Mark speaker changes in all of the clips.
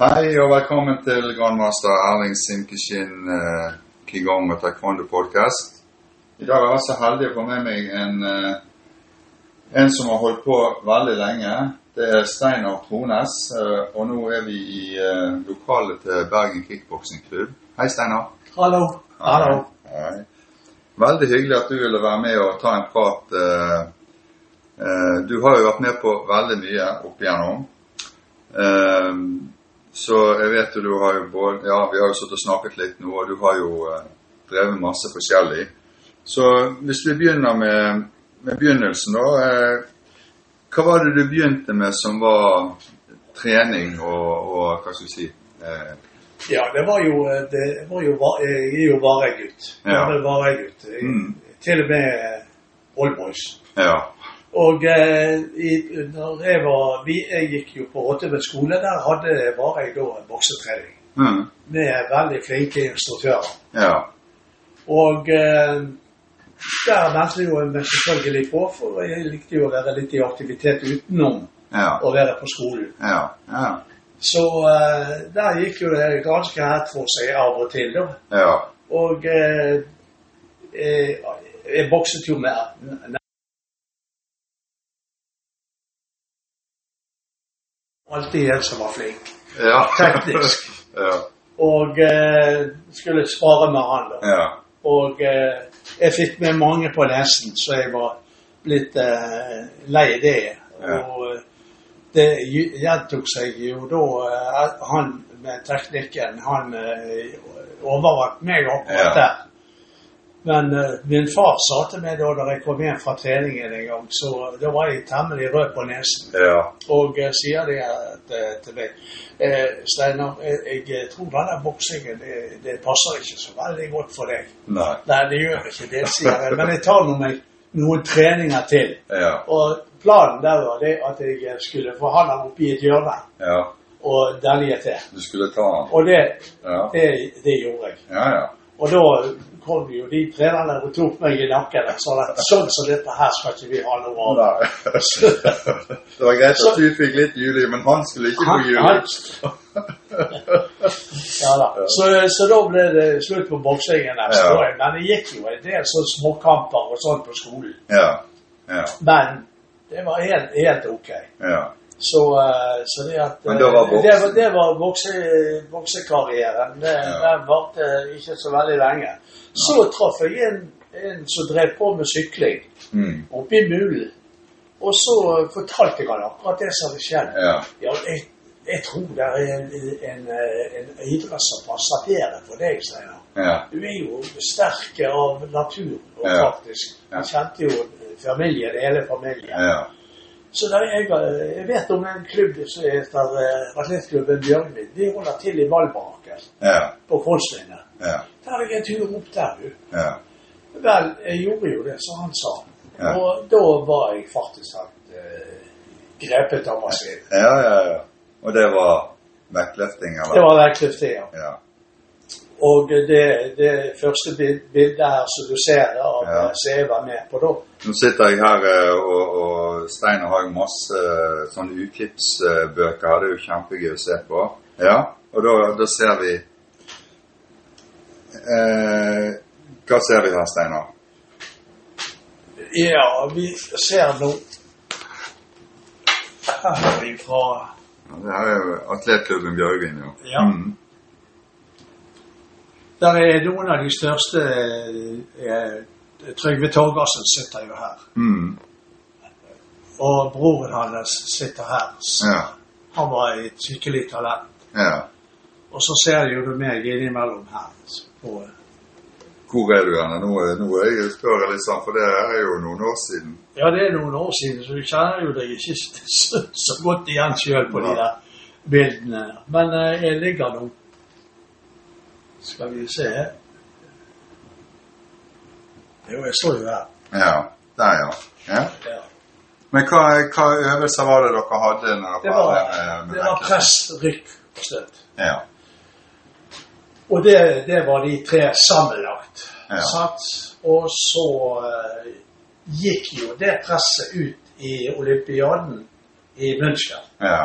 Speaker 1: Hei og velkommen til grandmaster Erling Simkishin eh, Kigong og Taekwondo podcast. I dag er jeg så heldig å få med meg en, eh, en som har holdt på veldig lenge. Det er Steinar Trones, eh, og nå er vi i eh, lokalet til Bergen Kickboksingklubb. Hei, Steinar.
Speaker 2: Hallo. Hallo.
Speaker 1: Hei. Veldig hyggelig at du ville være med og ta en prat. eh, eh, Du har jo vært med på veldig mye opp igjennom. Eh, Så jeg vet jo du har jo både Ja, vi har jo sittet og snakket litt nå, og du har jo eh, drevet masse forskjellig. Så hvis vi begynner med, med begynnelsen, da. eh, Hva var det du begynte med som var trening og, og hva skal vi si eh,
Speaker 2: Ja, det var jo, eh, det var jo va- eh, Jeg er jo Vareid-gutt.
Speaker 1: Ja.
Speaker 2: Gammel Vareid-gutt. Jeg-
Speaker 1: Mm.
Speaker 2: Til og med oldboys.
Speaker 1: Ja.
Speaker 2: Og eh, i, når jeg var vi, Jeg gikk jo på Rottebø skole. Der hadde Vareid da en boksetrening
Speaker 1: Mm,
Speaker 2: med veldig flinke instruktører.
Speaker 1: ja.
Speaker 2: Og eh, der meldte jeg jo meg selvfølgelig på, for jeg likte jo å være litt i aktivitet utenom
Speaker 1: Ja.
Speaker 2: å være på skolen.
Speaker 1: Ja. Ja.
Speaker 2: Så eh, der gikk jo det ganske hett for seg av og til, da.
Speaker 1: ja.
Speaker 2: Og eh, eh, jeg bokset jo med med- Alltid en som var flink.
Speaker 1: Ja.
Speaker 2: Teknisk.
Speaker 1: ja.
Speaker 2: Og eh, skulle spare med han. da.
Speaker 1: Ja.
Speaker 2: Og eh, jeg fikk med mange på nesen, så jeg var blitt eh, lei det.
Speaker 1: Ja.
Speaker 2: Og eh, det gj- gjentok seg jo da eh, at han med teknikken Han eh, overvant meg
Speaker 1: Ja.
Speaker 2: akkurat der. Men eh, min far sa til meg da da jeg kom hjem fra treningen en gang, så da var jeg temmelig rød på nesen.
Speaker 1: Ja.
Speaker 2: Og eh, sier det at, eh, til meg eh, Steinar, jeg, jeg tror denne boksingen det, det passer ikke så veldig godt for deg.
Speaker 1: Nei.
Speaker 2: Nei, det gjør ikke det, sier jeg. Men jeg tar nå meg noen treninger til.
Speaker 1: Ja.
Speaker 2: Og planen der var det at jeg skulle få han her opp i et hjørne
Speaker 1: Ja.
Speaker 2: og delje til.
Speaker 1: Du skulle ta han.
Speaker 2: Og det,
Speaker 1: Ja.
Speaker 2: det, det gjorde jeg.
Speaker 1: Ja, ja.
Speaker 2: Og da kom jo de trenerne og tok meg i nakken og sa at sånn som dette her skal ikke vi ha noe av.
Speaker 1: Nei. Det var greit at du fikk litt juli, men han skulle ikke få
Speaker 2: Han-
Speaker 1: juli.
Speaker 2: han- Ja, da. Så, så da ble det slutt på boksingen. der, så
Speaker 1: Ja.
Speaker 2: da jeg- Men det gikk jo en del sånne småkamper og sånn på skolen.
Speaker 1: Ja. Ja.
Speaker 2: Men det var helt, helt ok.
Speaker 1: Ja.
Speaker 2: Så, eh, så det at
Speaker 1: Men det var
Speaker 2: eh,
Speaker 1: voksen.
Speaker 2: det var, det var vokse, voksekarrieren. Det,
Speaker 1: Ja.
Speaker 2: Den varte ikke så veldig lenge. Så traff jeg en, en som drev på med sykling
Speaker 1: Mm.
Speaker 2: oppe i Mulen. Og så eh, fortalte jeg han akkurat det som hadde skjedd.
Speaker 1: Ja.
Speaker 2: Ja, jeg, jeg tror det er en, en, eh, en idrett som passer bedre for deg, Steinar.
Speaker 1: Ja.
Speaker 2: Du er jo sterk av natur, og
Speaker 1: Ja.
Speaker 2: faktisk.
Speaker 1: Ja.
Speaker 2: Jeg kjente jo familien, hele familien.
Speaker 1: Ja.
Speaker 2: Så da jeg, eh, jeg vet om en klubb som heter eh, Atletklubben Bjørgvin. De holder til i Valbakken
Speaker 1: Ja.
Speaker 2: på Kolsvinnet.
Speaker 1: Ja.
Speaker 2: Tar jeg en tur opp der, du.
Speaker 1: Ja.
Speaker 2: Vel, jeg gjorde jo det som han sa.
Speaker 1: Ja.
Speaker 2: Og da var jeg faktisk helt eh, grepet av meg selv.
Speaker 1: Ja, ja, ja. Og det var vektløfting,
Speaker 2: Det
Speaker 1: eller?
Speaker 2: var Verklift det, ja.
Speaker 1: Ja.
Speaker 2: Og det, det første bil- bildet her som du ser da, av
Speaker 1: Ja.
Speaker 2: eh, som jeg var med på da,
Speaker 1: Nå sitter jeg her, eh, og, og Steinar har jo masse eh, sånne utklippsbøker. Det er jo kjempegøy å se på. Ja, og da, da ser vi eh, Hva ser vi her, Steinar?
Speaker 2: Ja, vi ser nå Her er vi fra
Speaker 1: Ja, Det her er jo atletklubben Bjørgvin, jo.
Speaker 2: Ja.
Speaker 1: Mm.
Speaker 2: Der er noen av de største eh, Trygve Torgersen sitter jo her.
Speaker 1: Mm.
Speaker 2: Og broren hans sitter her. S-
Speaker 1: Ja.
Speaker 2: Han var et skikkelig talent.
Speaker 1: ja.
Speaker 2: Og så ser jo du meg innimellom her. altså, På,
Speaker 1: Hvor er du hen? Nå, er- nå er jeg spør jeg litt sånn, for det er jo noen år siden.
Speaker 2: ja, det er noen år siden, så du kjenner jo deg ikke så, så godt igjen sjøl på de der bildene. Men eh, jeg ligger nå Skal vi se Jo, jeg står jo her.
Speaker 1: Ja. Der, ja. ja.
Speaker 2: Ja.
Speaker 1: Men hva, hva øvelser var det dere hadde? Når
Speaker 2: Det
Speaker 1: dere
Speaker 2: var,
Speaker 1: var med- med
Speaker 2: det var
Speaker 1: vektløfting?
Speaker 2: press, rykk og støtt.
Speaker 1: Ja.
Speaker 2: Og det, det var de tre sammenlagt.
Speaker 1: Ja.
Speaker 2: Sant? Og så eh, gikk jo det presset ut i olympiaden i München
Speaker 1: Ja.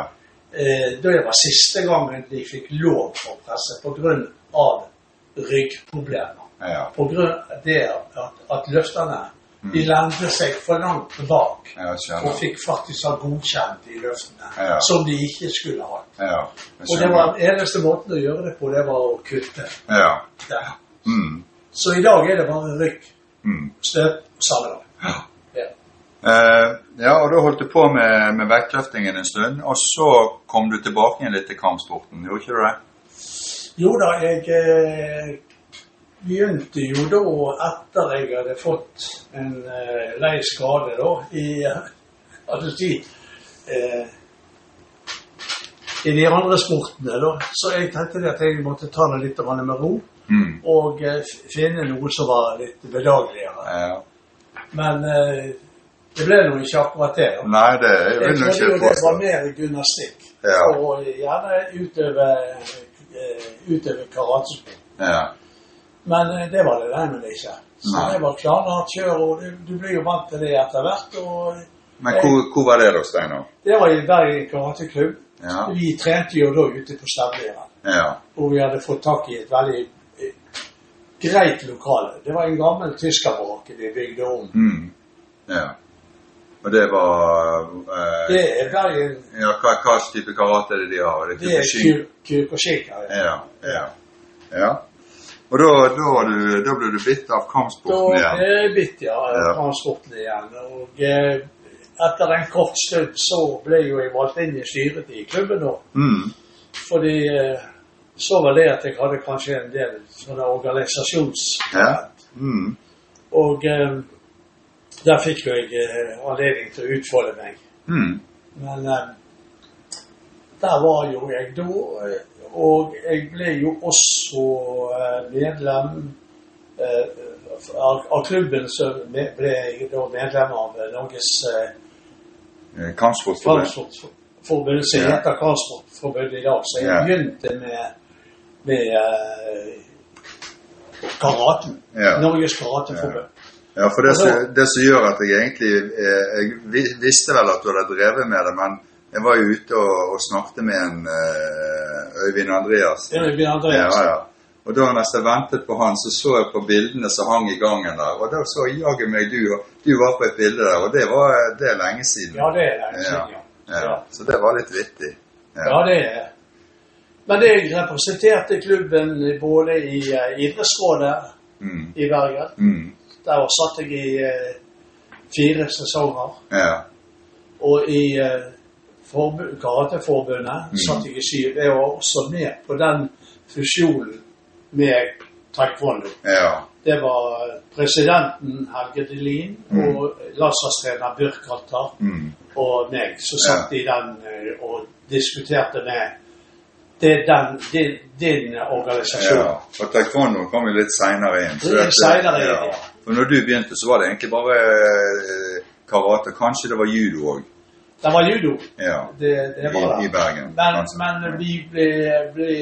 Speaker 2: eh, da det var siste gangen de fikk lov for presse pga. ryggproblemer.
Speaker 1: Ja.
Speaker 2: Pga. det at, at løfterne
Speaker 1: Mm.
Speaker 2: de lente seg for langt tilbake
Speaker 1: Jeg
Speaker 2: og
Speaker 1: skjønner.
Speaker 2: fikk faktisk ha godkjent de løftene
Speaker 1: Ja.
Speaker 2: som de ikke skulle ha.
Speaker 1: Ja. Jeg
Speaker 2: Og det var
Speaker 1: skjønner.
Speaker 2: den eneste måten å gjøre det på, det var å kutte
Speaker 1: Ja.
Speaker 2: der.
Speaker 1: Mm.
Speaker 2: Så i dag er det bare rykk,
Speaker 1: Mm.
Speaker 2: støt, saler.
Speaker 1: Eh, ja, og da holdt du på med, med vektløftingen en stund, og så kom du tilbake igjen litt til kampsporten, gjorde ikke du det?
Speaker 2: Jo da, jeg eh, begynte jo da etter jeg hadde fått en eh, lei skade da, i eh, altså si, eh, i de andre sportene da. Så jeg tenkte det at jeg måtte ta det litt grann med ro
Speaker 1: Mm.
Speaker 2: og eh, f- finne noe som var litt bedageligere.
Speaker 1: Ja.
Speaker 2: Men eh, det ble nå ikke akkurat det. da.
Speaker 1: Nei, det
Speaker 2: Jeg
Speaker 1: vil du
Speaker 2: trodde
Speaker 1: ikke
Speaker 2: jo det
Speaker 1: påstå.
Speaker 2: var mer gymnastikk.
Speaker 1: Ja.
Speaker 2: Og gjerne utøve, eh, utøve karatesport.
Speaker 1: Ja.
Speaker 2: Men eh, det var det dermed ikke. Så
Speaker 1: Nei.
Speaker 2: det var knallhardt kjør, og du, du blir jo vant til det etter hvert. Og
Speaker 1: Men hvor, hvor var det da, Steinar?
Speaker 2: det var i Bergen karateklubb.
Speaker 1: Ja.
Speaker 2: Vi trente jo da ute på Stadlia,
Speaker 1: Ja.
Speaker 2: hvor vi hadde fått tak i et veldig eh, greit lokale. Det var en gammel tyskerbarakke vi bygde om.
Speaker 1: Mm. Ja. Og det var eh,
Speaker 2: Det er Bergen
Speaker 1: Ja, hva, hva type karate er det de har? Er
Speaker 2: Det er
Speaker 1: Kyokushin?
Speaker 2: Kyokushinka. Ja.
Speaker 1: Ja. ja. ja. Og da, da, var du, da ble du bitt av
Speaker 2: Da
Speaker 1: kampsporten igjen?
Speaker 2: eh, bitt jeg
Speaker 1: Ja.
Speaker 2: transporten igjen. Og eh, etter en kort stund så ble jo jeg valgt inn i styret i klubben nå.
Speaker 1: Mm.
Speaker 2: Fordi eh, så var det at jeg hadde kanskje en del sånne organisasjons...
Speaker 1: Ja. Mm.
Speaker 2: Og eh, der fikk jo jeg eh, anledning til å utfolde meg.
Speaker 1: Mm.
Speaker 2: Men eh, der var jo jeg da, eh, og jeg ble jo også eh, medlem eh, av, av klubben, så me- ble jeg da medlem av eh, Norges eh,
Speaker 1: Eh, Kampsportforbund?
Speaker 2: Kampsportforbund, som
Speaker 1: Ja.
Speaker 2: heter Kampsportforbundet i dag. Så jeg
Speaker 1: Ja.
Speaker 2: begynte med, med eh, karaten.
Speaker 1: Ja.
Speaker 2: Norges karateforbund.
Speaker 1: Ja, for det,
Speaker 2: Og
Speaker 1: som-
Speaker 2: så-
Speaker 1: det som gjør at jeg egentlig eh, Jeg vi- visste vel at du hadde drevet med det, men jeg var jo ute og, og snakket med en eh, Øyvind Andreas.
Speaker 2: Det er Bjørn
Speaker 1: Ja,
Speaker 2: Andreassen.
Speaker 1: ja. Og da mens jeg ventet på han, så så jeg på bildene som hang i gangen der. Og da så jaggu meg du, du var på et bilde der, og det var det er lenge siden.
Speaker 2: Ja, det er det. jeg sier,
Speaker 1: Ja.
Speaker 2: Ja.
Speaker 1: Så det var litt vittig. Ja.
Speaker 2: Ja, det er Men jeg representerte klubben både i eh, idrettsrådet
Speaker 1: Mm.
Speaker 2: i Bergen.
Speaker 1: Mm.
Speaker 2: Der satt jeg i eh, fire sesonger.
Speaker 1: Ja.
Speaker 2: Og i eh, forbu- Karateforbundet satt jeg i syv. Jeg var også med på den fusjonen med taekwondo.
Speaker 1: Ja.
Speaker 2: Det var eh, presidenten Helge Delin og landslagstrener Birkhalter
Speaker 1: Mm.
Speaker 2: og meg, så satt de den eh, og diskuterte med det, er den, din, din organisasjon.
Speaker 1: ja. Og taekwondo kom jo litt seinere inn.
Speaker 2: Det er senere inn, ja.
Speaker 1: For når du begynte, så var det egentlig bare eh, karate. Kanskje det var judo òg.
Speaker 2: Det var judo.
Speaker 1: Ja.
Speaker 2: Det,
Speaker 1: I,
Speaker 2: det var
Speaker 1: I
Speaker 2: det.
Speaker 1: Bergen.
Speaker 2: Men,
Speaker 1: kanskje.
Speaker 2: men vi ble, ble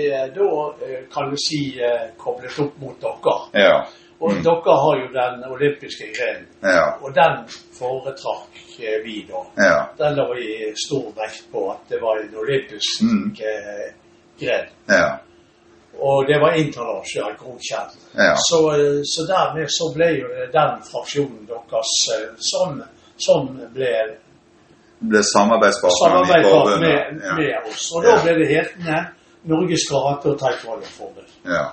Speaker 2: da, eh, kan du si, eh, koblet opp mot dere.
Speaker 1: Ja.
Speaker 2: Og
Speaker 1: Mm.
Speaker 2: dere har jo den olympiske grenen,
Speaker 1: Ja.
Speaker 2: og den foretrakk eh, vi da.
Speaker 1: Ja.
Speaker 2: Den la vi stor vekt på at det var en olympisk
Speaker 1: Mm.
Speaker 2: eh, gren.
Speaker 1: Ja.
Speaker 2: Og det var internasjonalt godkjent.
Speaker 1: Ja.
Speaker 2: Så, eh, så dermed så ble jo det den fraksjonen deres eh, som, som ble
Speaker 1: Ble samarbeidspartner i
Speaker 2: samarbeidet med,
Speaker 1: forbundet. Ja.
Speaker 2: med oss. Og da
Speaker 1: Ja.
Speaker 2: ble det hetende Norges karate- og taekwondoforbund.
Speaker 1: Ja.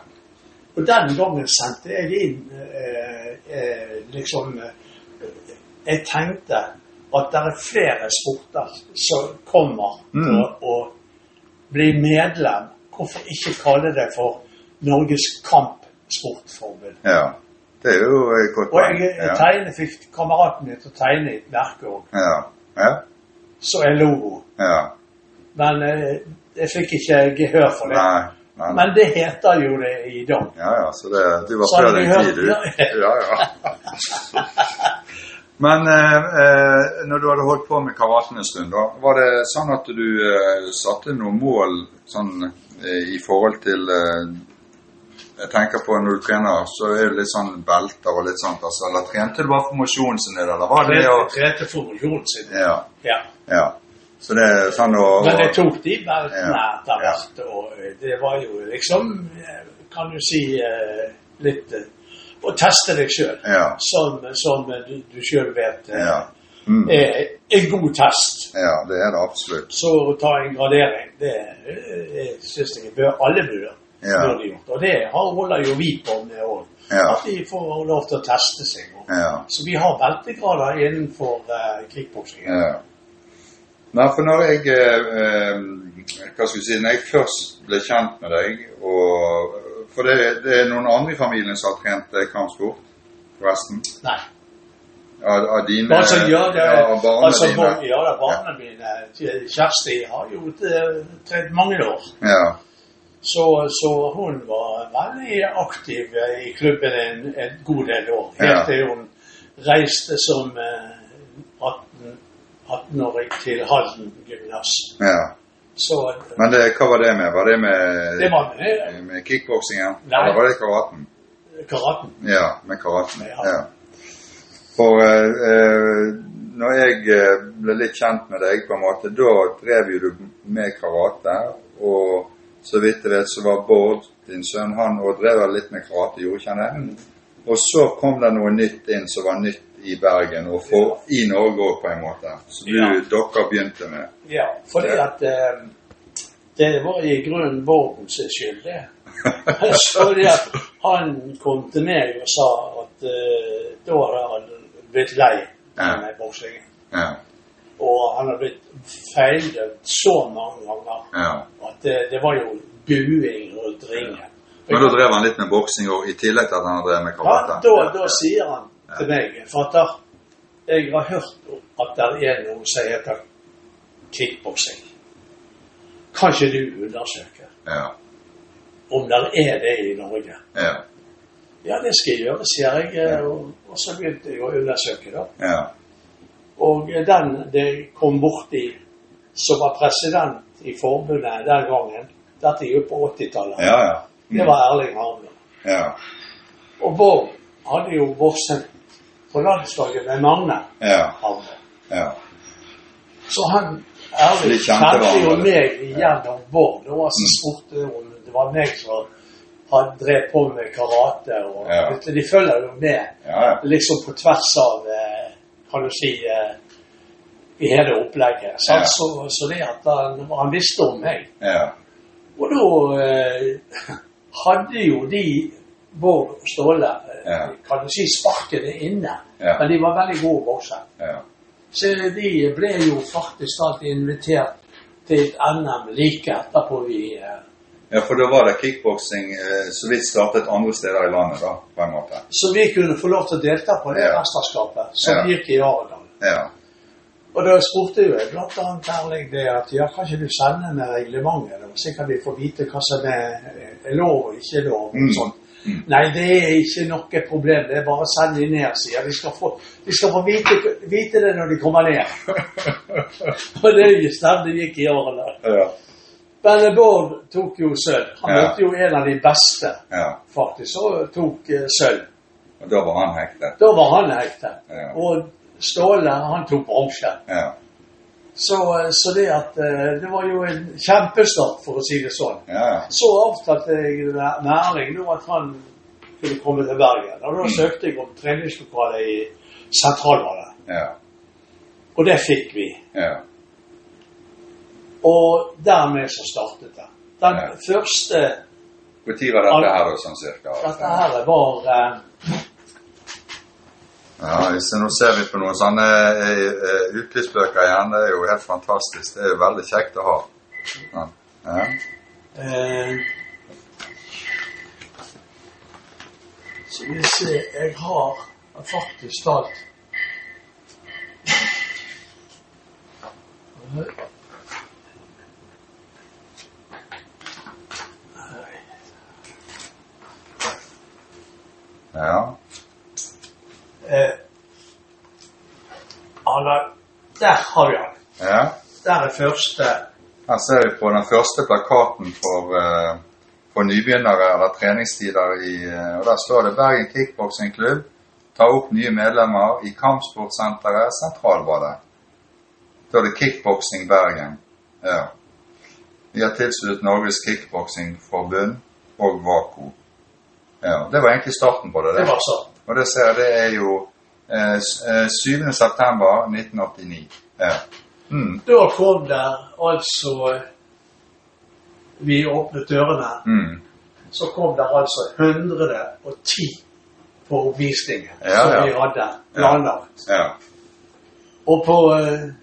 Speaker 2: Og den gangen sendte jeg inn eh, eh, liksom eh, Jeg tenkte at det er flere sporter som kommer
Speaker 1: Mm.
Speaker 2: til å bli medlem. Hvorfor ikke kalle det for Norges kampsportforbund?
Speaker 1: Ja. Det er jo et godt
Speaker 2: Og
Speaker 1: poeng.
Speaker 2: jeg, jeg
Speaker 1: Ja.
Speaker 2: tegne, fikk kameraten min til å tegne et merke òg,
Speaker 1: Ja. Ja.
Speaker 2: så en logo.
Speaker 1: ja.
Speaker 2: Men eh, jeg fikk ikke gehør for det.
Speaker 1: Nei. Nei.
Speaker 2: Men det heter jo det i dag.
Speaker 1: Ja, ja, så det, du var
Speaker 2: Så
Speaker 1: før
Speaker 2: hadde
Speaker 1: din
Speaker 2: vi hørt-
Speaker 1: tid, du.
Speaker 2: Ja.
Speaker 1: Ja, ja. Men eh, eh, når du hadde holdt på med karaten en stund, da, var det sånn at du eh, satte noen mål sånn eh, i forhold til eh, Jeg tenker på når du trener, så er det litt sånn belter og litt sånt. Altså, eller trente du bare for mosjonen sin del, eller var det å
Speaker 2: Grete Formojonen sin.
Speaker 1: Ja.
Speaker 2: Ja.
Speaker 1: ja. Så det er sånn å å-
Speaker 2: Men jeg tok de beltene
Speaker 1: Ja,
Speaker 2: etter
Speaker 1: ja.
Speaker 2: hvert, og eh, det var jo liksom, eh, kan du si, eh, litt eh, Å teste deg sjøl,
Speaker 1: Ja.
Speaker 2: som, som du, du sjøl vet eh,
Speaker 1: Ja. Mm.
Speaker 2: er en god test.
Speaker 1: ja, det er det absolutt.
Speaker 2: Så å ta en gradering, det syns jeg bør, alle burde,
Speaker 1: Ja.
Speaker 2: burde gjort. Og det har- holder jo vi på med òg.
Speaker 1: Ja.
Speaker 2: At de får lov til å teste seg. Og,
Speaker 1: Ja.
Speaker 2: Så vi har beltegrader innenfor eh, kickboksingen.
Speaker 1: Ja. Nei, for når jeg eh, eh, Hva skal vi si Når jeg først ble kjent med deg og, For det, det er noen andre i familien som har trent eh, kampsport, forresten.
Speaker 2: Nei.
Speaker 1: Av, av dine
Speaker 2: Altså, ja, det,
Speaker 1: ja, av barna
Speaker 2: altså,
Speaker 1: dine.
Speaker 2: barn- Ja, da, barna mine. Kjersti har jo eh, trent mange år.
Speaker 1: Ja.
Speaker 2: Så, så hun var veldig aktiv eh, i klubben en, en god del år. Helt
Speaker 1: Ja.
Speaker 2: til hun reiste som eh, 18 18-åring til Halden gymnas.
Speaker 1: ja.
Speaker 2: Så eh,
Speaker 1: Men det, hva var det med? Var det med,
Speaker 2: det var eh,
Speaker 1: med kickboksingen?
Speaker 2: Nei.
Speaker 1: Eller var det karaten?
Speaker 2: karaten.
Speaker 1: Ja, med karaten.
Speaker 2: Ja.
Speaker 1: Ja. For eh, eh, når jeg eh, ble litt kjent med deg, på en måte, da drev jo du med karate. Og så vidt jeg vet, så var Bård, din sønn, han og drev vel litt med karate, gjorde ikke han det?
Speaker 2: Mm.
Speaker 1: Og så kom det noe nytt inn som var nytt i Bergen, og for, i Norge òg, på en måte. Så du,
Speaker 2: Ja.
Speaker 1: dere begynte med
Speaker 2: Ja, fordi
Speaker 1: Ja.
Speaker 2: at eh, det var i grunnen Bårdens skyld, det. Så det at han kom til meg og sa at eh, da hadde han blitt lei
Speaker 1: Ja.
Speaker 2: av meg boksingen.
Speaker 1: Ja.
Speaker 2: Og han hadde blitt feildømt så mange ganger
Speaker 1: ja.
Speaker 2: at det, det var jo buing rundt ringen.
Speaker 1: Men da drev han litt med boksing òg, i tillegg til at han drev med
Speaker 2: Ja,
Speaker 1: karate?
Speaker 2: da, da sier han til meg, fatter, jeg har hørt at det er noe som heter kickboksing. Kan ikke du undersøke
Speaker 1: Ja.
Speaker 2: om det er det i Norge?
Speaker 1: Ja.
Speaker 2: Ja, det skal jeg gjøre, sier jeg. eh, Og, og så begynte jeg å undersøke, da.
Speaker 1: ja.
Speaker 2: Og den det kom borti, som var president i forbundet den gangen, dette er jo på 80-tallet,
Speaker 1: Ja, ja. Mm.
Speaker 2: det var Erling Harmland.
Speaker 1: Ja.
Speaker 2: Og Bård hadde jo vokst på landslaget med Magne
Speaker 1: Ja.
Speaker 2: Harmland.
Speaker 1: Ja.
Speaker 2: Så han ærlig
Speaker 1: De kjente
Speaker 2: kjente jo
Speaker 1: hverandre. Mm.
Speaker 2: meg gjennom Bård. Det var så spurte om det var meg som hadde drev på med karate. Og
Speaker 1: Ja.
Speaker 2: vet du, De følger jo med
Speaker 1: Ja, ja.
Speaker 2: liksom på tvers av eh, kan du si eh, i hele opplegget. sant?
Speaker 1: Ja.
Speaker 2: Så, så det at han, han visste om meg.
Speaker 1: ja.
Speaker 2: Og da eh, hadde jo de, Bård og Ståle, eh,
Speaker 1: Ja.
Speaker 2: kan du si sparkene inne.
Speaker 1: Ja.
Speaker 2: Men de var veldig gode boksere.
Speaker 1: ja.
Speaker 2: Så de ble jo faktisk alltid invitert til et NM like etterpå vi eh,
Speaker 1: ja for da var det kickboksing eh, så vidt startet andre steder i landet, da, på en måte.
Speaker 2: Så vi kunne få lov til å delta på det
Speaker 1: Ja.
Speaker 2: mesterskapet som
Speaker 1: Ja.
Speaker 2: gikk i Arendal.
Speaker 1: Ja.
Speaker 2: Og da spurte jo jeg blant annet Erling det at ja, kan ikke du sende med reglementet, da? så kan vi få vite hva som er, er lov og ikke lov? og
Speaker 1: Mm.
Speaker 2: sånt.
Speaker 1: Mm.
Speaker 2: Nei, det er ikke noe problem, det er bare å sende de ned, sier jeg. De skal få, de skal få vite, vite det når de kommer ned. og det er jo stemmen det gikk i årene.
Speaker 1: ja.
Speaker 2: Belle Bård tok jo sølv. Han
Speaker 1: Ja.
Speaker 2: møtte jo en av de beste,
Speaker 1: ja.
Speaker 2: faktisk, og tok eh, sølv.
Speaker 1: Og da var han hektet.
Speaker 2: Da var han hektet.
Speaker 1: Ja.
Speaker 2: Og Ståle, han tok bronse.
Speaker 1: Ja.
Speaker 2: Så, så det at eh, Det var jo en kjempestart, for å si det sånn.
Speaker 1: Ja, ja.
Speaker 2: Så avtalte jeg med Erling nå at han kunne komme til Bergen. Og da søkte jeg om treningslokale i Sentralbadet.
Speaker 1: Ja.
Speaker 2: Og det fikk vi.
Speaker 1: Ja.
Speaker 2: Og dermed så startet det. Den
Speaker 1: Ja.
Speaker 2: første
Speaker 1: Hvor tid var dette her, da, sånn cirka?
Speaker 2: Dette her var eh,
Speaker 1: Ja, hvis jeg nå ser vi på noen sånne eh, eh, utklippsbøker igjen, det er jo helt fantastisk. Det er jo veldig kjekt å ha. Ja. Ja.
Speaker 2: Eh, Så vi ser, jeg har faktisk talt Nei.
Speaker 1: ja.
Speaker 2: Eh, Anna, der har vi han.
Speaker 1: ja.
Speaker 2: Der er første
Speaker 1: Her ser vi på den første plakaten for, eh, for nybegynnere eller treningstider i eh, og Der står det Bergen Kickboksingklubb tar opp nye medlemmer i Kampsportsenteret Sentralbadet. Da er det Kickboksing Bergen. Ja. Vi har tilsluttet Norges Kickboksingforbund og Vako. Ja, Det var egentlig starten på det.
Speaker 2: Det var sånn.
Speaker 1: Og det ser jeg, det er jo eh, s- eh, 7. september 1989. Ja. Mm,
Speaker 2: Da kom det altså Vi åpnet dørene.
Speaker 1: mm.
Speaker 2: Så kom det altså 110 på oppvisningen
Speaker 1: Ja,
Speaker 2: som
Speaker 1: ja.
Speaker 2: vi hadde planlagt.
Speaker 1: Ja.
Speaker 2: Og på, eh,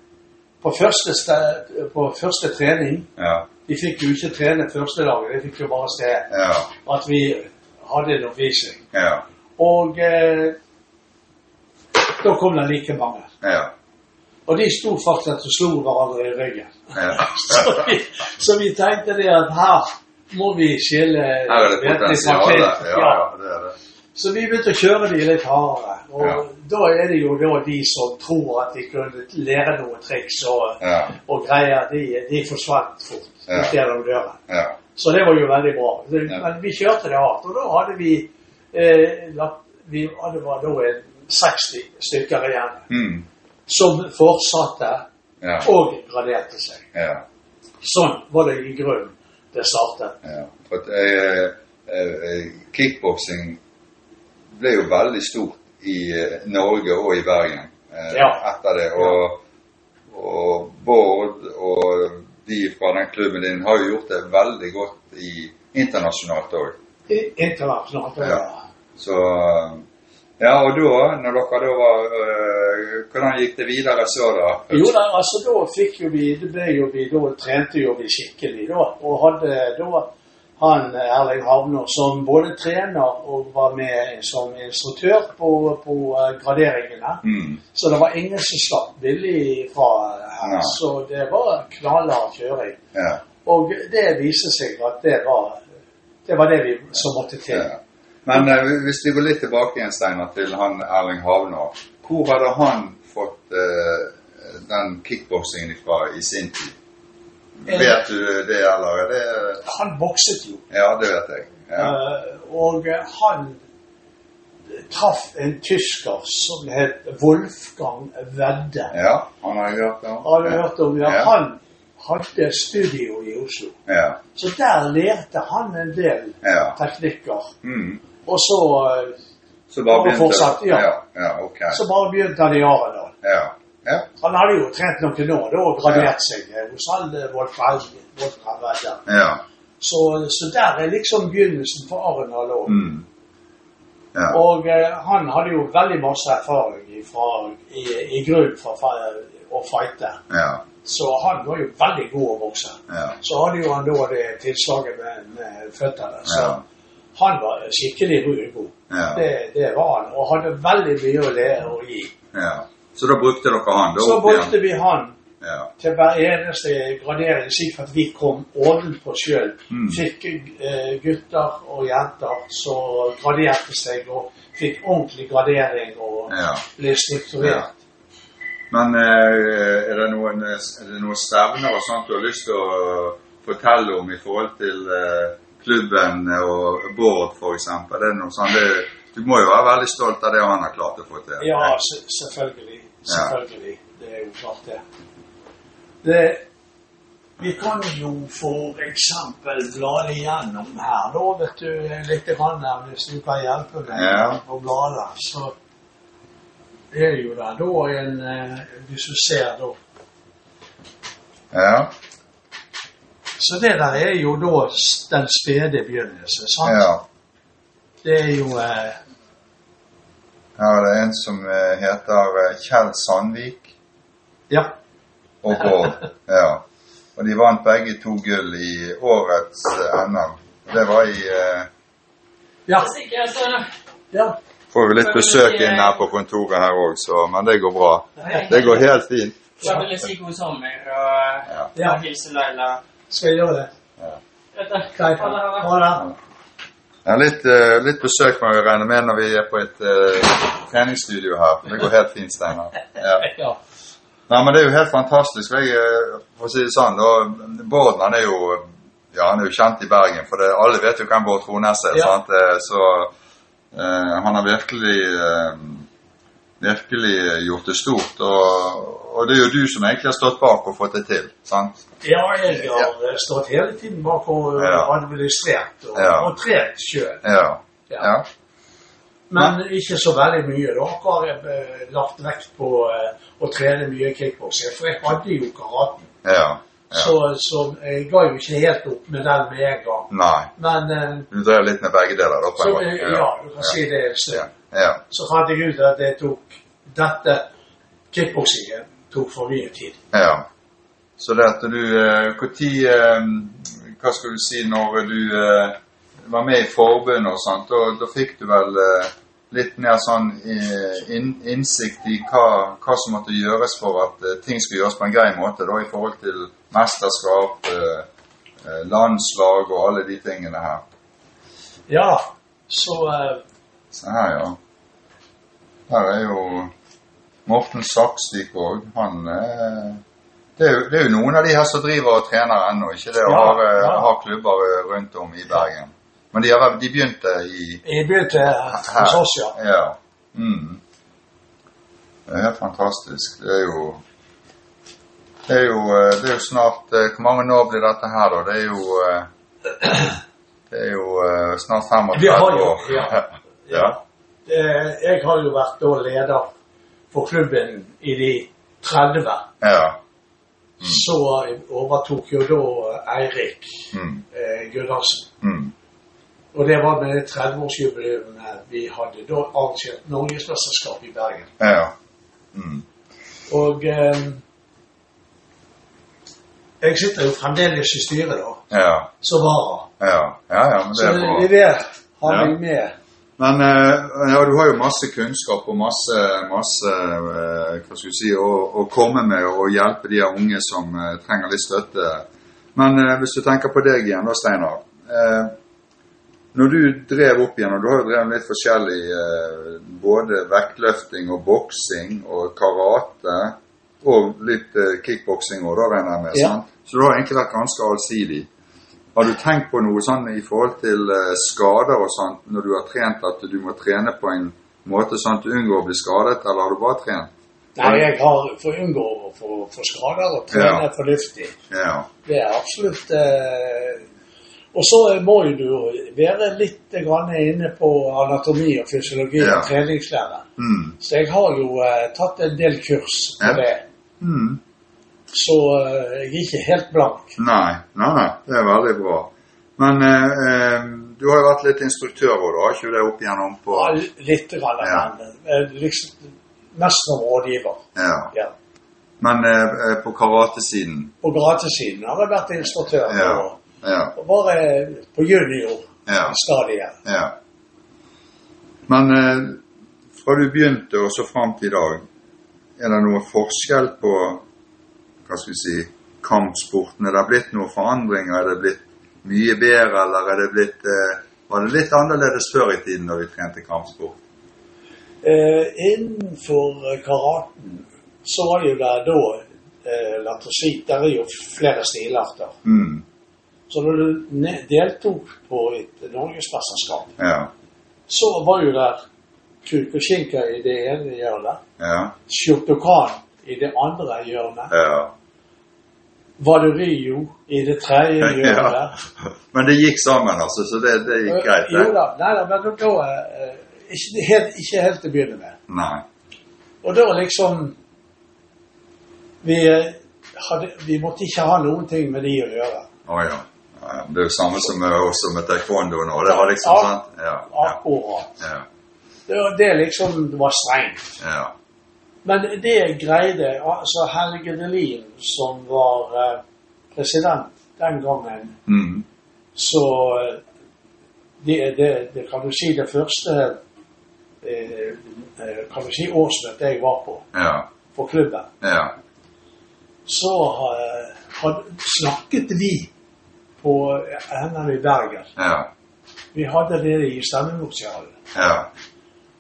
Speaker 2: på, første ste- på første trening
Speaker 1: Ja.
Speaker 2: Vi fikk jo ikke trene første dagen, vi fikk jo bare se
Speaker 1: Ja.
Speaker 2: at vi hadde en oppvisning.
Speaker 1: Ja.
Speaker 2: Og eh, da kom det like mange.
Speaker 1: Ja.
Speaker 2: Og de sto faktisk og slo hverandre i ryggen.
Speaker 1: ja.
Speaker 2: Så vi, så vi tenkte det at her må vi skille
Speaker 1: Her er det
Speaker 2: vettig fra
Speaker 1: potensial.
Speaker 2: flint.
Speaker 1: der. Ja, ja, det er det.
Speaker 2: sånn Så vi begynte å kjøre de litt hardere. Og
Speaker 1: Ja.
Speaker 2: da er det jo da de som tror at de kunne lære noen triks og,
Speaker 1: Ja.
Speaker 2: og greier, de, de forsvant fort
Speaker 1: Ja.
Speaker 2: ut gjennom døren.
Speaker 1: Ja.
Speaker 2: Så det var jo veldig bra. Det-
Speaker 1: Ja.
Speaker 2: Men vi kjørte det hardt. Og da hadde vi, eh, lagt, vi hadde var da en 60 stykker igjen
Speaker 1: Mm.
Speaker 2: som fortsatte
Speaker 1: Ja.
Speaker 2: og graderte seg.
Speaker 1: Ja.
Speaker 2: Sånn var det i grunnen det startet.
Speaker 1: Ja, for at, eh, eh, kickboksing ble jo veldig stort i eh, Norge og i Bergen eh,
Speaker 2: Ja.
Speaker 1: etter det. Og, og Bård og de fra den klubben din har jo gjort det veldig godt i, internasjonalt òg.
Speaker 2: I- Internasjonalt.
Speaker 1: Ja. Så eh, Ja, og da, når dere da var eh, Hvordan gikk det videre så, da?
Speaker 2: Jo da, altså da fikk jo vi, det ble jo vi, da trente jo vi skikkelig da, og hadde da han Erling Havner som både trener og var med som instruktør på, på eh, graderingene.
Speaker 1: Mm.
Speaker 2: Så det var ingen som slapp billig fra her,
Speaker 1: Ja.
Speaker 2: så det var knallhard kjøring.
Speaker 1: Ja.
Speaker 2: Og det viste seg at det var det, var det vi som måtte til.
Speaker 1: Ja. Men eh, hvis vi går litt tilbake igjen, Steinar, til han Erling Havner. Hvor hadde han fått eh, den kickboksingen ifra i sin tid?
Speaker 2: Eh.
Speaker 1: Vet du det, eller er det
Speaker 2: Han bokset jo.
Speaker 1: Ja, det vet jeg. Ja.
Speaker 2: Eh, og eh, han traff en tysker som het Wolfgang Wedde.
Speaker 1: ja han har jeg hørt om.
Speaker 2: Har du hørt om ja,
Speaker 1: Ja.
Speaker 2: Han hadde studio i Oslo.
Speaker 1: Ja.
Speaker 2: Så der lærte han en del
Speaker 1: ja.
Speaker 2: teknikker.
Speaker 1: Mm.
Speaker 2: Og så, eh,
Speaker 1: Så bare
Speaker 2: Og
Speaker 1: begynte
Speaker 2: fortsatt, ja.
Speaker 1: ja. ja. Ok.
Speaker 2: så bare begynte han i Arendal.
Speaker 1: Ja. Ja.
Speaker 2: Han hadde jo trent noen år da og
Speaker 1: Ja.
Speaker 2: gradert seg eh, hos han eh, Wolfgang Wolfgang Wedde.
Speaker 1: ja.
Speaker 2: Så, så der er liksom begynnelsen for Arendal òg.
Speaker 1: Mm. Ja.
Speaker 2: Og eh, han hadde jo veldig masse erfaring fra, i, i grunnen fra fa- å fighte.
Speaker 1: Ja.
Speaker 2: Så han var jo veldig god å bokse.
Speaker 1: Ja.
Speaker 2: Så hadde jo han da det tilslaget med, med føttene. Så
Speaker 1: Ja.
Speaker 2: han var skikkelig god.
Speaker 1: Ja.
Speaker 2: Det, det var han. Og hadde veldig mye å lære og gi.
Speaker 1: ja. Så da brukte dere han? Da
Speaker 2: Så
Speaker 1: opp igjen?
Speaker 2: brukte vi han
Speaker 1: Ja.
Speaker 2: til hver eneste gradering, slik at vi kom ovenpå sjøl.
Speaker 1: Mm.
Speaker 2: Fikk eh, gutter og jenter som graderte seg, og fikk ordentlig gradering og
Speaker 1: ja.
Speaker 2: ble strukturert.
Speaker 1: Men eh, er det noen, er det noen stevner og sånt du har lyst til å fortelle om i forhold til eh, klubben og Bård f.eks.? Er det noe sånt? Det, du må jo være veldig stolt av det han har klart å få til.
Speaker 2: Ja, se- selvfølgelig. Selvfølgelig. Det er jo klart det. det vi kan jo for eksempel bla igjennom her, da, vet du, litt grann her, hvis du kan hjelpe meg
Speaker 1: Ja.
Speaker 2: å bla der. Så det er jo der da en eh, Hvis du ser da
Speaker 1: Ja,
Speaker 2: Så det der er jo da s- den spede begynnelse, sant?
Speaker 1: ja.
Speaker 2: Det er jo eh,
Speaker 1: Her er det en som eh, heter eh, Kjell Sandvik
Speaker 2: Ja.
Speaker 1: og Bård. Ja. Og de vant begge to gull i årets eh, NM. Det var i eh,
Speaker 2: Ja.
Speaker 3: Hvis ikke, så
Speaker 2: ja.
Speaker 1: Får vi litt besøk inn her på kontoret her òg, så Men det går bra. Det går helt fint.
Speaker 3: Jeg ville si god sommer og,
Speaker 1: Ja.
Speaker 2: Ja.
Speaker 3: og hilse Laila.
Speaker 2: Skal jeg gjøre det?
Speaker 3: Vet du,
Speaker 2: Greit.
Speaker 3: ha det, ha det.
Speaker 2: Ha det.
Speaker 1: Ja, litt, eh, litt besøk må vi regne med når vi er på et eh, treningsstudio her. Det går helt fint, Steinar. Ja.
Speaker 2: Ja.
Speaker 1: Nei, men det er jo helt fantastisk. for Jeg, eh, for å si det sånn, da, Bård han er jo ja, han er jo kjent i Bergen, for det, alle vet jo hvem Bård Trones er.
Speaker 2: Ja.
Speaker 1: sant? Eh, Så eh, han har virkelig eh, virkelig gjort det stort. Og, og det er jo du som egentlig har stått bak og fått det til. sant?
Speaker 2: Ja, jeg har eh, stått hele tiden bak og eh,
Speaker 1: Ja.
Speaker 2: administrert og,
Speaker 1: Ja.
Speaker 2: og trent sjøl.
Speaker 1: Ja.
Speaker 2: Ja.
Speaker 1: ja.
Speaker 2: Men ikke så veldig mye. Da har jeg eh, lagt vekt på eh, å trene mye kickboksing. For jeg hadde jo karaten,
Speaker 1: ja. Ja.
Speaker 2: så, så jeg ga jo ikke helt opp med den med en gang.
Speaker 1: Nei.
Speaker 2: Men eh,
Speaker 1: Du drev litt med begge deler, da? på
Speaker 2: så,
Speaker 1: en
Speaker 2: eh,
Speaker 1: måte.
Speaker 2: ja, du kan si det en
Speaker 1: Ja.
Speaker 2: stund.
Speaker 1: ja.
Speaker 2: Så fant jeg ut at jeg tok dette kickboksingen tok for mye tid.
Speaker 1: ja. Så det at du eh, Når Hva skal du si når du eh, var med i forbundet og sånt, da, da fikk du vel eh, litt mer sånn eh, inn, innsikt i hva, hva som måtte gjøres for at eh, ting skulle gjøres på en grei måte, da i forhold til mesterskap, eh, eh, landslag og alle de tingene her.
Speaker 2: Ja, så eh,
Speaker 1: Se her, ja. Her er jo Morten Saksvik òg. Han eh, det er, jo, det er jo noen av de her som driver og trener ennå, ikke det? Og
Speaker 2: Ja,
Speaker 1: har, eh,
Speaker 2: ja.
Speaker 1: har klubber eh, rundt om i Bergen. Men de, har, vel- de begynte i
Speaker 2: jeg begynte hos
Speaker 1: her.
Speaker 2: oss, ja.
Speaker 1: Ja. Mm. Det er helt fantastisk. Det er jo det er jo, eh, det er jo snart eh, Hvor mange år blir dette her, da? Det er jo eh, Det er jo eh, snart
Speaker 2: Vi
Speaker 1: 35
Speaker 2: har jo-
Speaker 1: år.
Speaker 2: ja.
Speaker 1: ja.
Speaker 2: Eh, Jeg har jo vært da leder for klubben i de 30.
Speaker 1: ja.
Speaker 2: Så overtok jo da Eirik
Speaker 1: Mm.
Speaker 2: eh, Gunnarsen.
Speaker 1: Mm.
Speaker 2: Og det var med 30-årsjubileum eh, vi hadde da arrangert Norgesmesterskap i Bergen.
Speaker 1: Ja. Mm.
Speaker 2: Og eh, jeg sitter jo fremdeles i styret da,
Speaker 1: Ja,
Speaker 2: som vara.
Speaker 1: ja, ja, ja, men det
Speaker 2: Så
Speaker 1: er
Speaker 2: det,
Speaker 1: bra.
Speaker 2: det har
Speaker 1: Ja.
Speaker 2: jeg med.
Speaker 1: Men eh, ja, du har jo masse kunnskap og masse, masse eh, hva skal vi si, å, å komme med og hjelpe de her unge som eh, trenger litt støtte. Men eh, hvis du tenker på deg igjen da, Steinar. Eh, når du drev opp igjennom, du har jo drevet litt forskjellig, eh, både vektløfting og boksing og karate, og litt eh, kickboksing òg, da regner jeg med.
Speaker 2: Ja.
Speaker 1: sant? Så du har egentlig vært ganske allsidig. Har du tenkt på noe sånn i forhold til eh, skader og sånt, når du har trent, at du må trene på en måte sånn at du unngår å bli skadet, eller har du bare trent?
Speaker 2: Nei, jeg har for å unngå å få, få skader og trene
Speaker 1: Ja.
Speaker 2: fornuftig.
Speaker 1: Ja.
Speaker 2: Det er absolutt eh, Og så må jo du jo være litt grann inne på anatomi og fysiologi
Speaker 1: Ja.
Speaker 2: og treningslære.
Speaker 1: Mm.
Speaker 2: Så jeg har jo eh, tatt en del kurs på
Speaker 1: Ja.
Speaker 2: det.
Speaker 1: Mm.
Speaker 2: Så eh, jeg er ikke helt blank.
Speaker 1: Nei, nei, nei, det er veldig bra. Men eh, eh, du har jo vært litt instruktør òg, har ikke du det opp igjennom på
Speaker 2: Ja, litt, grann,
Speaker 1: Ja.
Speaker 2: men eh, liksom, mest som rådgiver.
Speaker 1: Ja.
Speaker 2: Ja.
Speaker 1: Men eh, eh, på karatesiden.
Speaker 2: På gratesiden har jeg vært instruktør.
Speaker 1: Ja.
Speaker 2: Og,
Speaker 1: Ja.
Speaker 2: og bare på juniorstadiet.
Speaker 1: ja, ja. Men eh, fra du begynte og så fram til i dag, er det noe forskjell på hva skal vi si, kampsporten? Er det blitt noen forandringer? Er det blitt mye bedre, eller er det blitt eh, Var det litt annerledes før i tiden da vi trente kampsport?
Speaker 2: Eh, innenfor eh, karaten så var det jo der da eh, La oss si, der er jo flere stilarter.
Speaker 1: Mm.
Speaker 2: Så når du ne- deltok på et norgesmesterskap,
Speaker 1: Ja.
Speaker 2: så var jo der kuk og skinke i det ene hjørnet,
Speaker 1: Ja.
Speaker 2: shotokan i det andre hjørnet,
Speaker 1: ja.
Speaker 2: vaderio i det tredje
Speaker 1: Ja.
Speaker 2: hjørnet.
Speaker 1: Men det gikk sammen, altså, så det, det gikk greit.
Speaker 2: Eh, jo
Speaker 1: Det.
Speaker 2: da, nei da, men da eh, ikke, helt, ikke helt til å begynne med.
Speaker 1: Nei.
Speaker 2: Og da liksom vi, eh, hadde, vi måtte ikke ha noen ting med de å gjøre.
Speaker 1: Å ja. Ja, ja. Det er jo samme som med, også med taekwondo nå. Det var liksom
Speaker 2: Ja.
Speaker 1: sant? Ja. Ja.
Speaker 2: Akkurat.
Speaker 1: ja,
Speaker 2: Det, var- det liksom det var strengt.
Speaker 1: ja.
Speaker 2: Men det greide altså Helge Delin, som var eh, president den gangen,
Speaker 1: Mm.
Speaker 2: så eh, det, det, det kan du si det første eh, eh, kan du si årsmøtet jeg var på,
Speaker 1: ja.
Speaker 2: for klubben,
Speaker 1: Ja.
Speaker 2: så eh, had, snakket vi på NM i Bergen.
Speaker 1: Ja.
Speaker 2: Vi hadde det i stemmelokalet.
Speaker 1: Ja.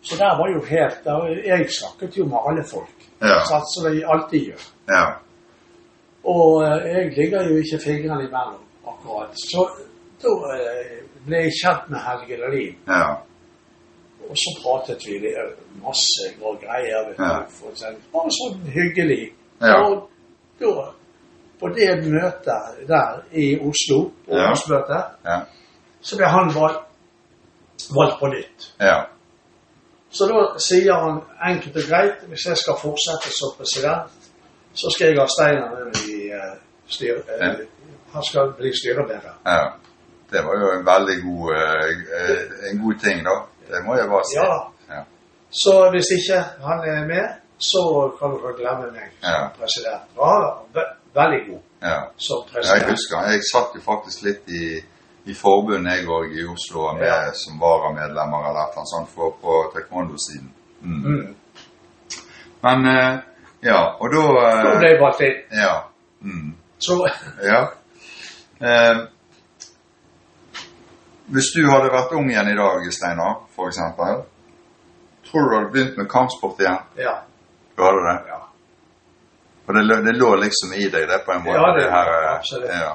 Speaker 2: Så der var jo helt der, Jeg snakket jo med alle folk.
Speaker 1: Ja.
Speaker 2: Sånn som jeg alltid gjør.
Speaker 1: Ja.
Speaker 2: Og eh, jeg ligger jo ikke fingrene imellom, akkurat. Så da eh, ble jeg kjent med Helge Dahlin.
Speaker 1: Ja.
Speaker 2: Og så pratet vi det eh, masse og greier. Vet du,
Speaker 1: Ja.
Speaker 2: for eksempel. Bare sånn hyggelig.
Speaker 1: Ja.
Speaker 2: Og da, på det møtet der i Oslo, på
Speaker 1: Ja.
Speaker 2: årsmøtet,
Speaker 1: Ja.
Speaker 2: så ble han valgt, valgt på nytt.
Speaker 1: Ja.
Speaker 2: Så da sier han enkelt og greit hvis jeg skal fortsette som president, så skal jeg ha Steinar med meg i eh, styr... eh, Han skal bli styreleder.
Speaker 1: ja. Det var jo en veldig god, eh, eh, en god ting, da. Det må jeg bare si.
Speaker 2: Ja.
Speaker 1: Ja.
Speaker 2: Så hvis ikke han er med, så kan du glemme meg som
Speaker 1: Ja.
Speaker 2: president. Og han var ve- veldig god
Speaker 1: ja.
Speaker 2: som
Speaker 1: Jeg
Speaker 2: president.
Speaker 1: husker han. Jeg satt jo faktisk litt i, i forbund, jeg òg, i Oslo med,
Speaker 2: Ja.
Speaker 1: som varamedlemmer eller et eller annet sånt for, på taekwondo-siden. Mm.
Speaker 2: Mm.
Speaker 1: Men eh, Ja. Og da
Speaker 2: Da
Speaker 1: eh,
Speaker 2: ble jeg valgt inn.
Speaker 1: Ja. Mm.
Speaker 2: Så
Speaker 1: Ja. Eh, hvis du hadde vært ung igjen i dag, Steinar, for eksempel, tror du du hadde begynt med kampsport igjen?
Speaker 2: ja.
Speaker 1: Du hadde det?
Speaker 2: Ja.
Speaker 1: For det, lå- det lå liksom i deg, det, på en måte?
Speaker 2: Ja, det-
Speaker 1: eh,
Speaker 2: absolutt.
Speaker 1: Ja.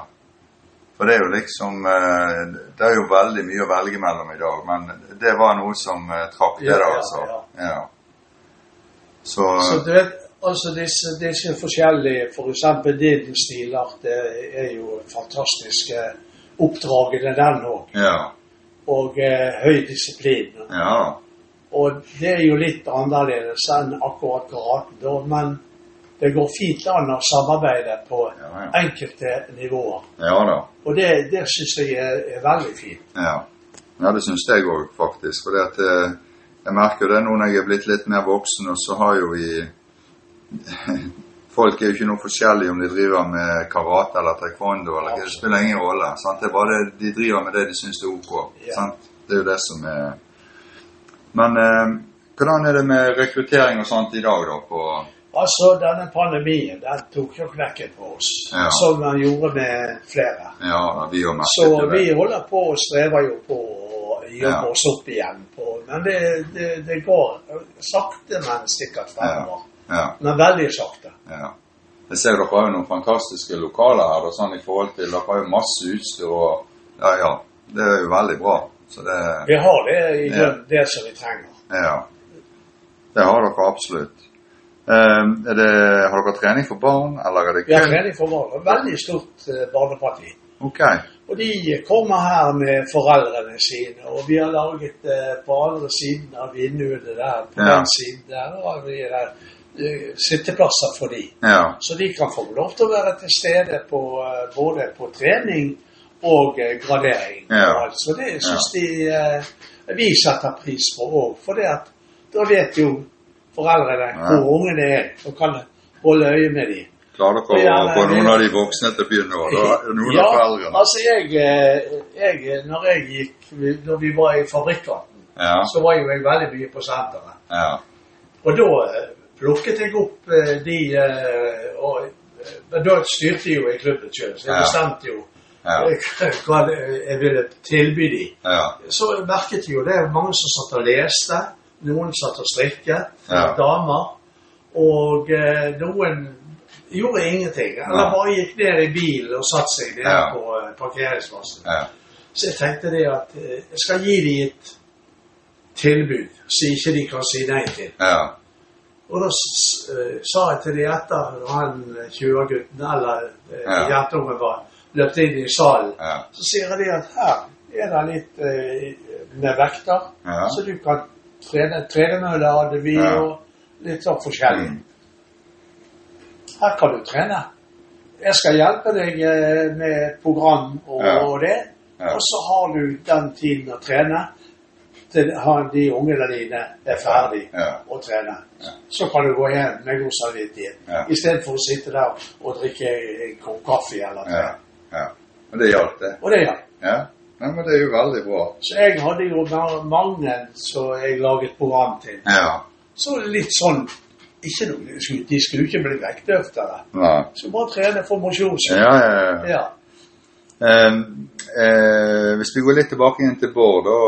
Speaker 1: For det er jo liksom eh, Det er jo veldig mye å velge mellom i dag, men det var noe som eh, trakk det,
Speaker 2: Ja,
Speaker 1: da,
Speaker 2: ja,
Speaker 1: altså.
Speaker 2: ja.
Speaker 1: Ja. Så,
Speaker 2: Så du vet, altså disse, disse forskjellige, for eksempel din stilart, det er jo fantastiske oppdragene den òg.
Speaker 1: ja.
Speaker 2: og eh, høy disiplin.
Speaker 1: Ja.
Speaker 2: Og det er jo litt annerledes enn akkurat karaten, da, men det går fint an å samarbeide på
Speaker 1: Ja, ja.
Speaker 2: enkelte nivåer.
Speaker 1: ja da.
Speaker 2: Og det, det syns jeg er, er veldig fint.
Speaker 1: Ja, ja det syns jeg òg, faktisk. For jeg merker jo det nå når jeg er blitt litt mer voksen, og så har jo i Folk er jo ikke noe forskjellig om de driver med karate eller taekwondo. eller hva, Det spiller ingen rolle. sant? Det er bare det, De driver med det de syns er ok.
Speaker 2: Ja.
Speaker 1: sant? Det er jo det som er Men eh, hvordan er det med rekruttering og sånt i dag, da? på...
Speaker 2: Altså, denne pandemien den tok jo knekken på oss,
Speaker 1: Ja.
Speaker 2: som den gjorde med flere.
Speaker 1: Ja, vi har merket
Speaker 2: Så
Speaker 1: det.
Speaker 2: vi holder på og strever jo på å jobbe
Speaker 1: Ja.
Speaker 2: oss opp igjen. på, Men det, det, det går sakte, men sikkert fremover.
Speaker 1: Ja,
Speaker 2: Men veldig sakte.
Speaker 1: ja. Jeg ser dere har jo noen fantastiske lokaler her. Da, sånn i forhold til, Dere har jo masse utstyr og Ja, ja. Det er jo veldig bra. Så det
Speaker 2: Vi har det i
Speaker 1: Ja.
Speaker 2: grunnen, det som vi trenger.
Speaker 1: Ja. Det har dere absolutt. Ehm, er det, har dere trening for barn, eller er det
Speaker 2: Vi har trening for barn. Et veldig stort eh, barneparti.
Speaker 1: Ok.
Speaker 2: Og de kommer her med foreldrene sine, og vi har laget eh, på andre siden av vinduene der, på
Speaker 1: Ja.
Speaker 2: den siden der, har vi der, eh, sitteplasser for de.
Speaker 1: Ja.
Speaker 2: Så de kan få lov til å være til stede på, eh, både på trening og eh, gradering.
Speaker 1: Ja.
Speaker 2: Og alt. Så det syns de eh, vi setter pris på òg, for det at da vet jo foreldrene
Speaker 1: Ja.
Speaker 2: hvor ungene er, og kan holde øye med dem.
Speaker 1: Klarer dere
Speaker 2: Ja,
Speaker 1: å
Speaker 2: nei,
Speaker 1: få
Speaker 2: det-
Speaker 1: noen av de voksne til å begynne å da- Noen
Speaker 2: ja,
Speaker 1: av foreldrene?
Speaker 2: altså jeg, eh, jeg Når jeg gikk Når vi var i Fabrikkvatn,
Speaker 1: Ja.
Speaker 2: så var jo jeg veldig mye på senteret.
Speaker 1: ja.
Speaker 2: Og da eh, plukket jeg opp eh, de eh, og, eh, Men da styrte jeg jo i klubben sjøl, så jeg
Speaker 1: Ja.
Speaker 2: bestemte jo
Speaker 1: Ja.
Speaker 2: eh, hva det- jeg ville tilby de.
Speaker 1: Ja.
Speaker 2: Så merket jeg jo det. Mange som satt og leste. Noen satt og strikket.
Speaker 1: Ja.
Speaker 2: Damer. Og eh, noen gjorde ingenting. Eller
Speaker 1: Nei.
Speaker 2: bare gikk ned i bilen og satte seg ned
Speaker 1: Ja.
Speaker 2: på eh, parkeringsplassen.
Speaker 1: ja.
Speaker 2: Så jeg tenkte det at eh, jeg skal gi dem et tilbud som ikke de kan si nei til.
Speaker 1: ja.
Speaker 2: Og da s- eh, sa jeg til de etter han eh, 20-gutten eller eh,
Speaker 1: Ja.
Speaker 2: jentungen var løpt inn i salen,
Speaker 1: Ja.
Speaker 2: så sier jeg det at her er det litt eh, med vekter,
Speaker 1: Ja.
Speaker 2: så du kan trene trenemøller hadde vi
Speaker 1: Ja. Mm.
Speaker 2: og litt sånn forskjellig. Her kan du trene. Jeg skal hjelpe deg eh, med program og,
Speaker 1: Ja.
Speaker 2: og det.
Speaker 1: Ja.
Speaker 2: Og så har du den tiden å trene til han- de ungene dine er ferdig
Speaker 1: Ja.
Speaker 2: å trene.
Speaker 1: Ja.
Speaker 2: Så kan du gå hjem med god samvittighet
Speaker 1: Ja.
Speaker 2: istedenfor å sitte der og drikke en kopp kaffe eller noe.
Speaker 1: ja. ja. Og det hjalp, det.
Speaker 2: Og det hjalp.
Speaker 1: Ja. Nei, men det er jo veldig bra.
Speaker 2: Så jeg hadde jo ma- mange som jeg laget program til.
Speaker 1: Ja.
Speaker 2: Så litt sånn ikke, noe- de skulle- De skulle jo ikke bli vektøftere.
Speaker 1: Nei.
Speaker 2: Så bare trene for mosjons skyld.
Speaker 1: Ja, ja, ja.
Speaker 2: Ja.
Speaker 1: Eh, eh, hvis vi går litt tilbake inn til Bård, da,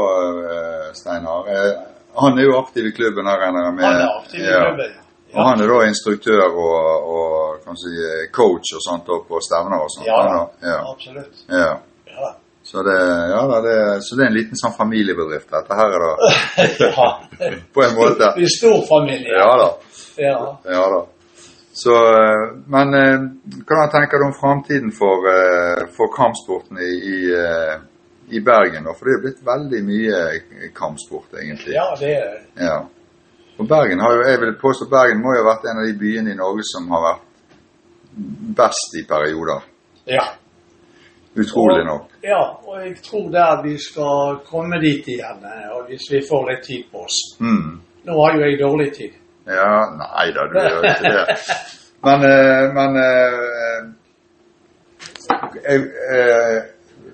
Speaker 1: eh, Steinar. Eh, han er jo aktiv i klubben, her, regner jeg med.
Speaker 2: Han er aktiv i
Speaker 1: Ja.
Speaker 2: klubben.
Speaker 1: Og han er da instruktør og, og kan du si, eh, coach og sånt da, på stevner og sånt?
Speaker 2: Ja,
Speaker 1: han da.
Speaker 2: absolutt.
Speaker 1: ja. ja.
Speaker 2: Ja.
Speaker 1: Så Så det, ja, da, det, så det er en liten sånn familiebedrift. Dette her er det
Speaker 2: ja.
Speaker 1: på en måte.
Speaker 2: Vi er stor familie.
Speaker 1: Ja da.
Speaker 2: Ja.
Speaker 1: Ja da. Så, eh, men eh, hva tenker du om framtiden for, eh, for kampsporten i, i, eh, i Bergen? da? For det er jo blitt veldig mye kampsport, egentlig.
Speaker 2: ja, det er det.
Speaker 1: Ja. Og Bergen har jo, jeg vil påstå Bergen må jo ha vært en av de byene i Norge som har vært best i perioder.
Speaker 2: Ja.
Speaker 1: Utrolig
Speaker 2: Og-
Speaker 1: nok.
Speaker 2: ja, og jeg tror der vi skal komme dit igjen, eh, og hvis vi får litt tid på oss.
Speaker 1: Mm.
Speaker 2: Nå har jo jeg dårlig tid.
Speaker 1: Ja, nei da, du gjør ikke det. Men, eh, men eh, jeg, eh,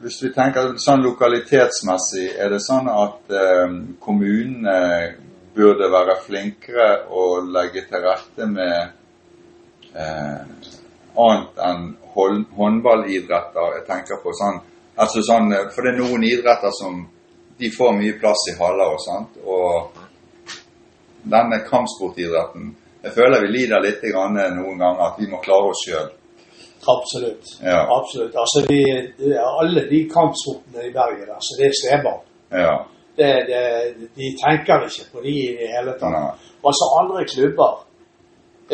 Speaker 1: Hvis vi tenker sånn lokalitetsmessig, er det sånn at eh, kommunene burde være flinkere å legge til rette med eh, annet enn hånd, håndballidretter? Jeg tenker på sånn, altså sånn eh, For det er noen idretter som de får mye plass i haller og sånt. og denne kampsportidretten. Jeg føler vi lider litt grann noen ganger at vi må klare oss sjøl.
Speaker 2: Absolutt.
Speaker 1: Ja.
Speaker 2: Absolutt. Altså, vi, det er alle de kampsportene i Bergen, altså, det er sleber.
Speaker 1: Ja.
Speaker 2: Det, det, de tenker ikke på de i det hele tatt.
Speaker 1: Nei.
Speaker 2: Altså andre klubber,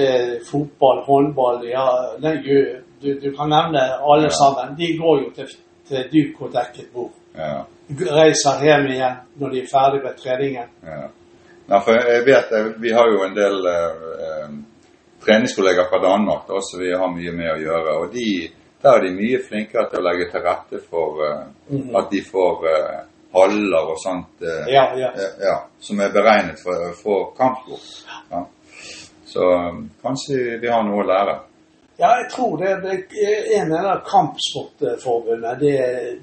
Speaker 2: eh, fotball, håndball, ja, nei, gud, du, du kan nevne alle
Speaker 1: Ja.
Speaker 2: sammen. De går jo til, til duk og dekket bord.
Speaker 1: ja,
Speaker 2: Reiser hjem igjen når de er ferdig med treningen.
Speaker 1: ja. Nei, for jeg vet eh, Vi har jo en del eh, eh, treningskollegaer fra Danmark da, så vi har mye med å gjøre. Og de, der er de mye flinkere til å legge til rette for eh,
Speaker 2: Mhm.
Speaker 1: at de får eh, haller og sånt. eh,
Speaker 2: Ja, ja.
Speaker 1: ja, ja, som er beregnet for, for kampsport. Ja. Så eh, kanskje vi har noe å lære.
Speaker 2: ja, jeg tror det er en av de kampsportforbundene. Det,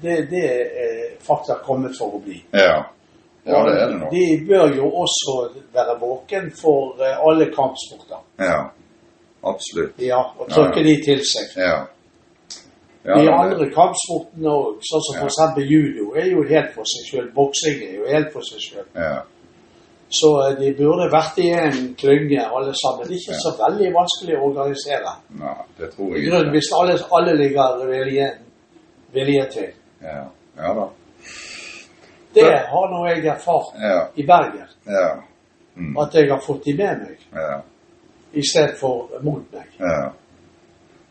Speaker 2: det, det er faktisk kommet for å bli.
Speaker 1: Ja, ja det er det nå.
Speaker 2: De bør jo også være våken for eh, alle kampsporter.
Speaker 1: Ja, absolutt.
Speaker 2: Ja, og trykke
Speaker 1: Ja,
Speaker 2: de til seg.
Speaker 1: Ja. Ja,
Speaker 2: De
Speaker 1: men det-
Speaker 2: andre kampsportene òg, sånn som
Speaker 1: Ja.
Speaker 2: f.eks. judo, er jo helt for seg sjøl. Boksing er jo helt for seg sjøl.
Speaker 1: ja,
Speaker 2: Så eh, de burde vært i en klynge, alle sammen. Det er ikke
Speaker 1: Ja.
Speaker 2: så veldig vanskelig å organisere.
Speaker 1: nei, det tror
Speaker 2: I
Speaker 1: jeg
Speaker 2: grunnen,
Speaker 1: ikke.
Speaker 2: hvis alle, alle ligger vilje, vilje til.
Speaker 1: Ja, ja da.
Speaker 2: Det
Speaker 1: Ja.
Speaker 2: har nå jeg erfart
Speaker 1: Ja,
Speaker 2: i Bergen,
Speaker 1: ja, Mm.
Speaker 2: at jeg har fått de med meg,
Speaker 1: ja,
Speaker 2: i stedet for mot meg.
Speaker 1: ja.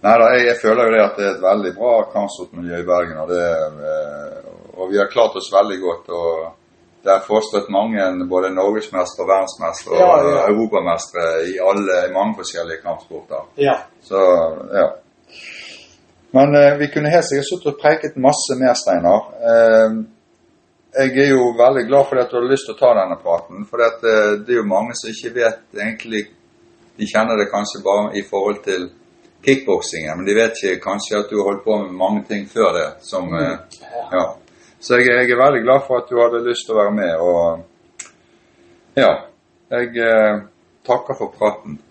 Speaker 1: Nei da, jeg, jeg føler jo det at det er et veldig bra kampsportmiljø i Bergen. Og, det, eh, og vi har klart oss veldig godt. og det er forstått mange, både norgesmestere, verdensmestere og
Speaker 2: Ja, ja.
Speaker 1: eh, europamestere i alle, i mange forskjellige kampsporter.
Speaker 2: Ja.
Speaker 1: Så, ja. Men eh, vi kunne helt sikkert sittet og preiket masse mer, Steinar. Eh, jeg er jo veldig glad for at du har lyst til å ta denne praten. For at, eh, det er jo mange som ikke vet egentlig De kjenner det kanskje bare i forhold til kickboksingen, men de vet ikke kanskje at du har holdt på med mange ting før det. som... eh, ja. Så jeg, jeg er veldig glad for at du hadde lyst til å være med, og ja. Jeg eh, takker for praten.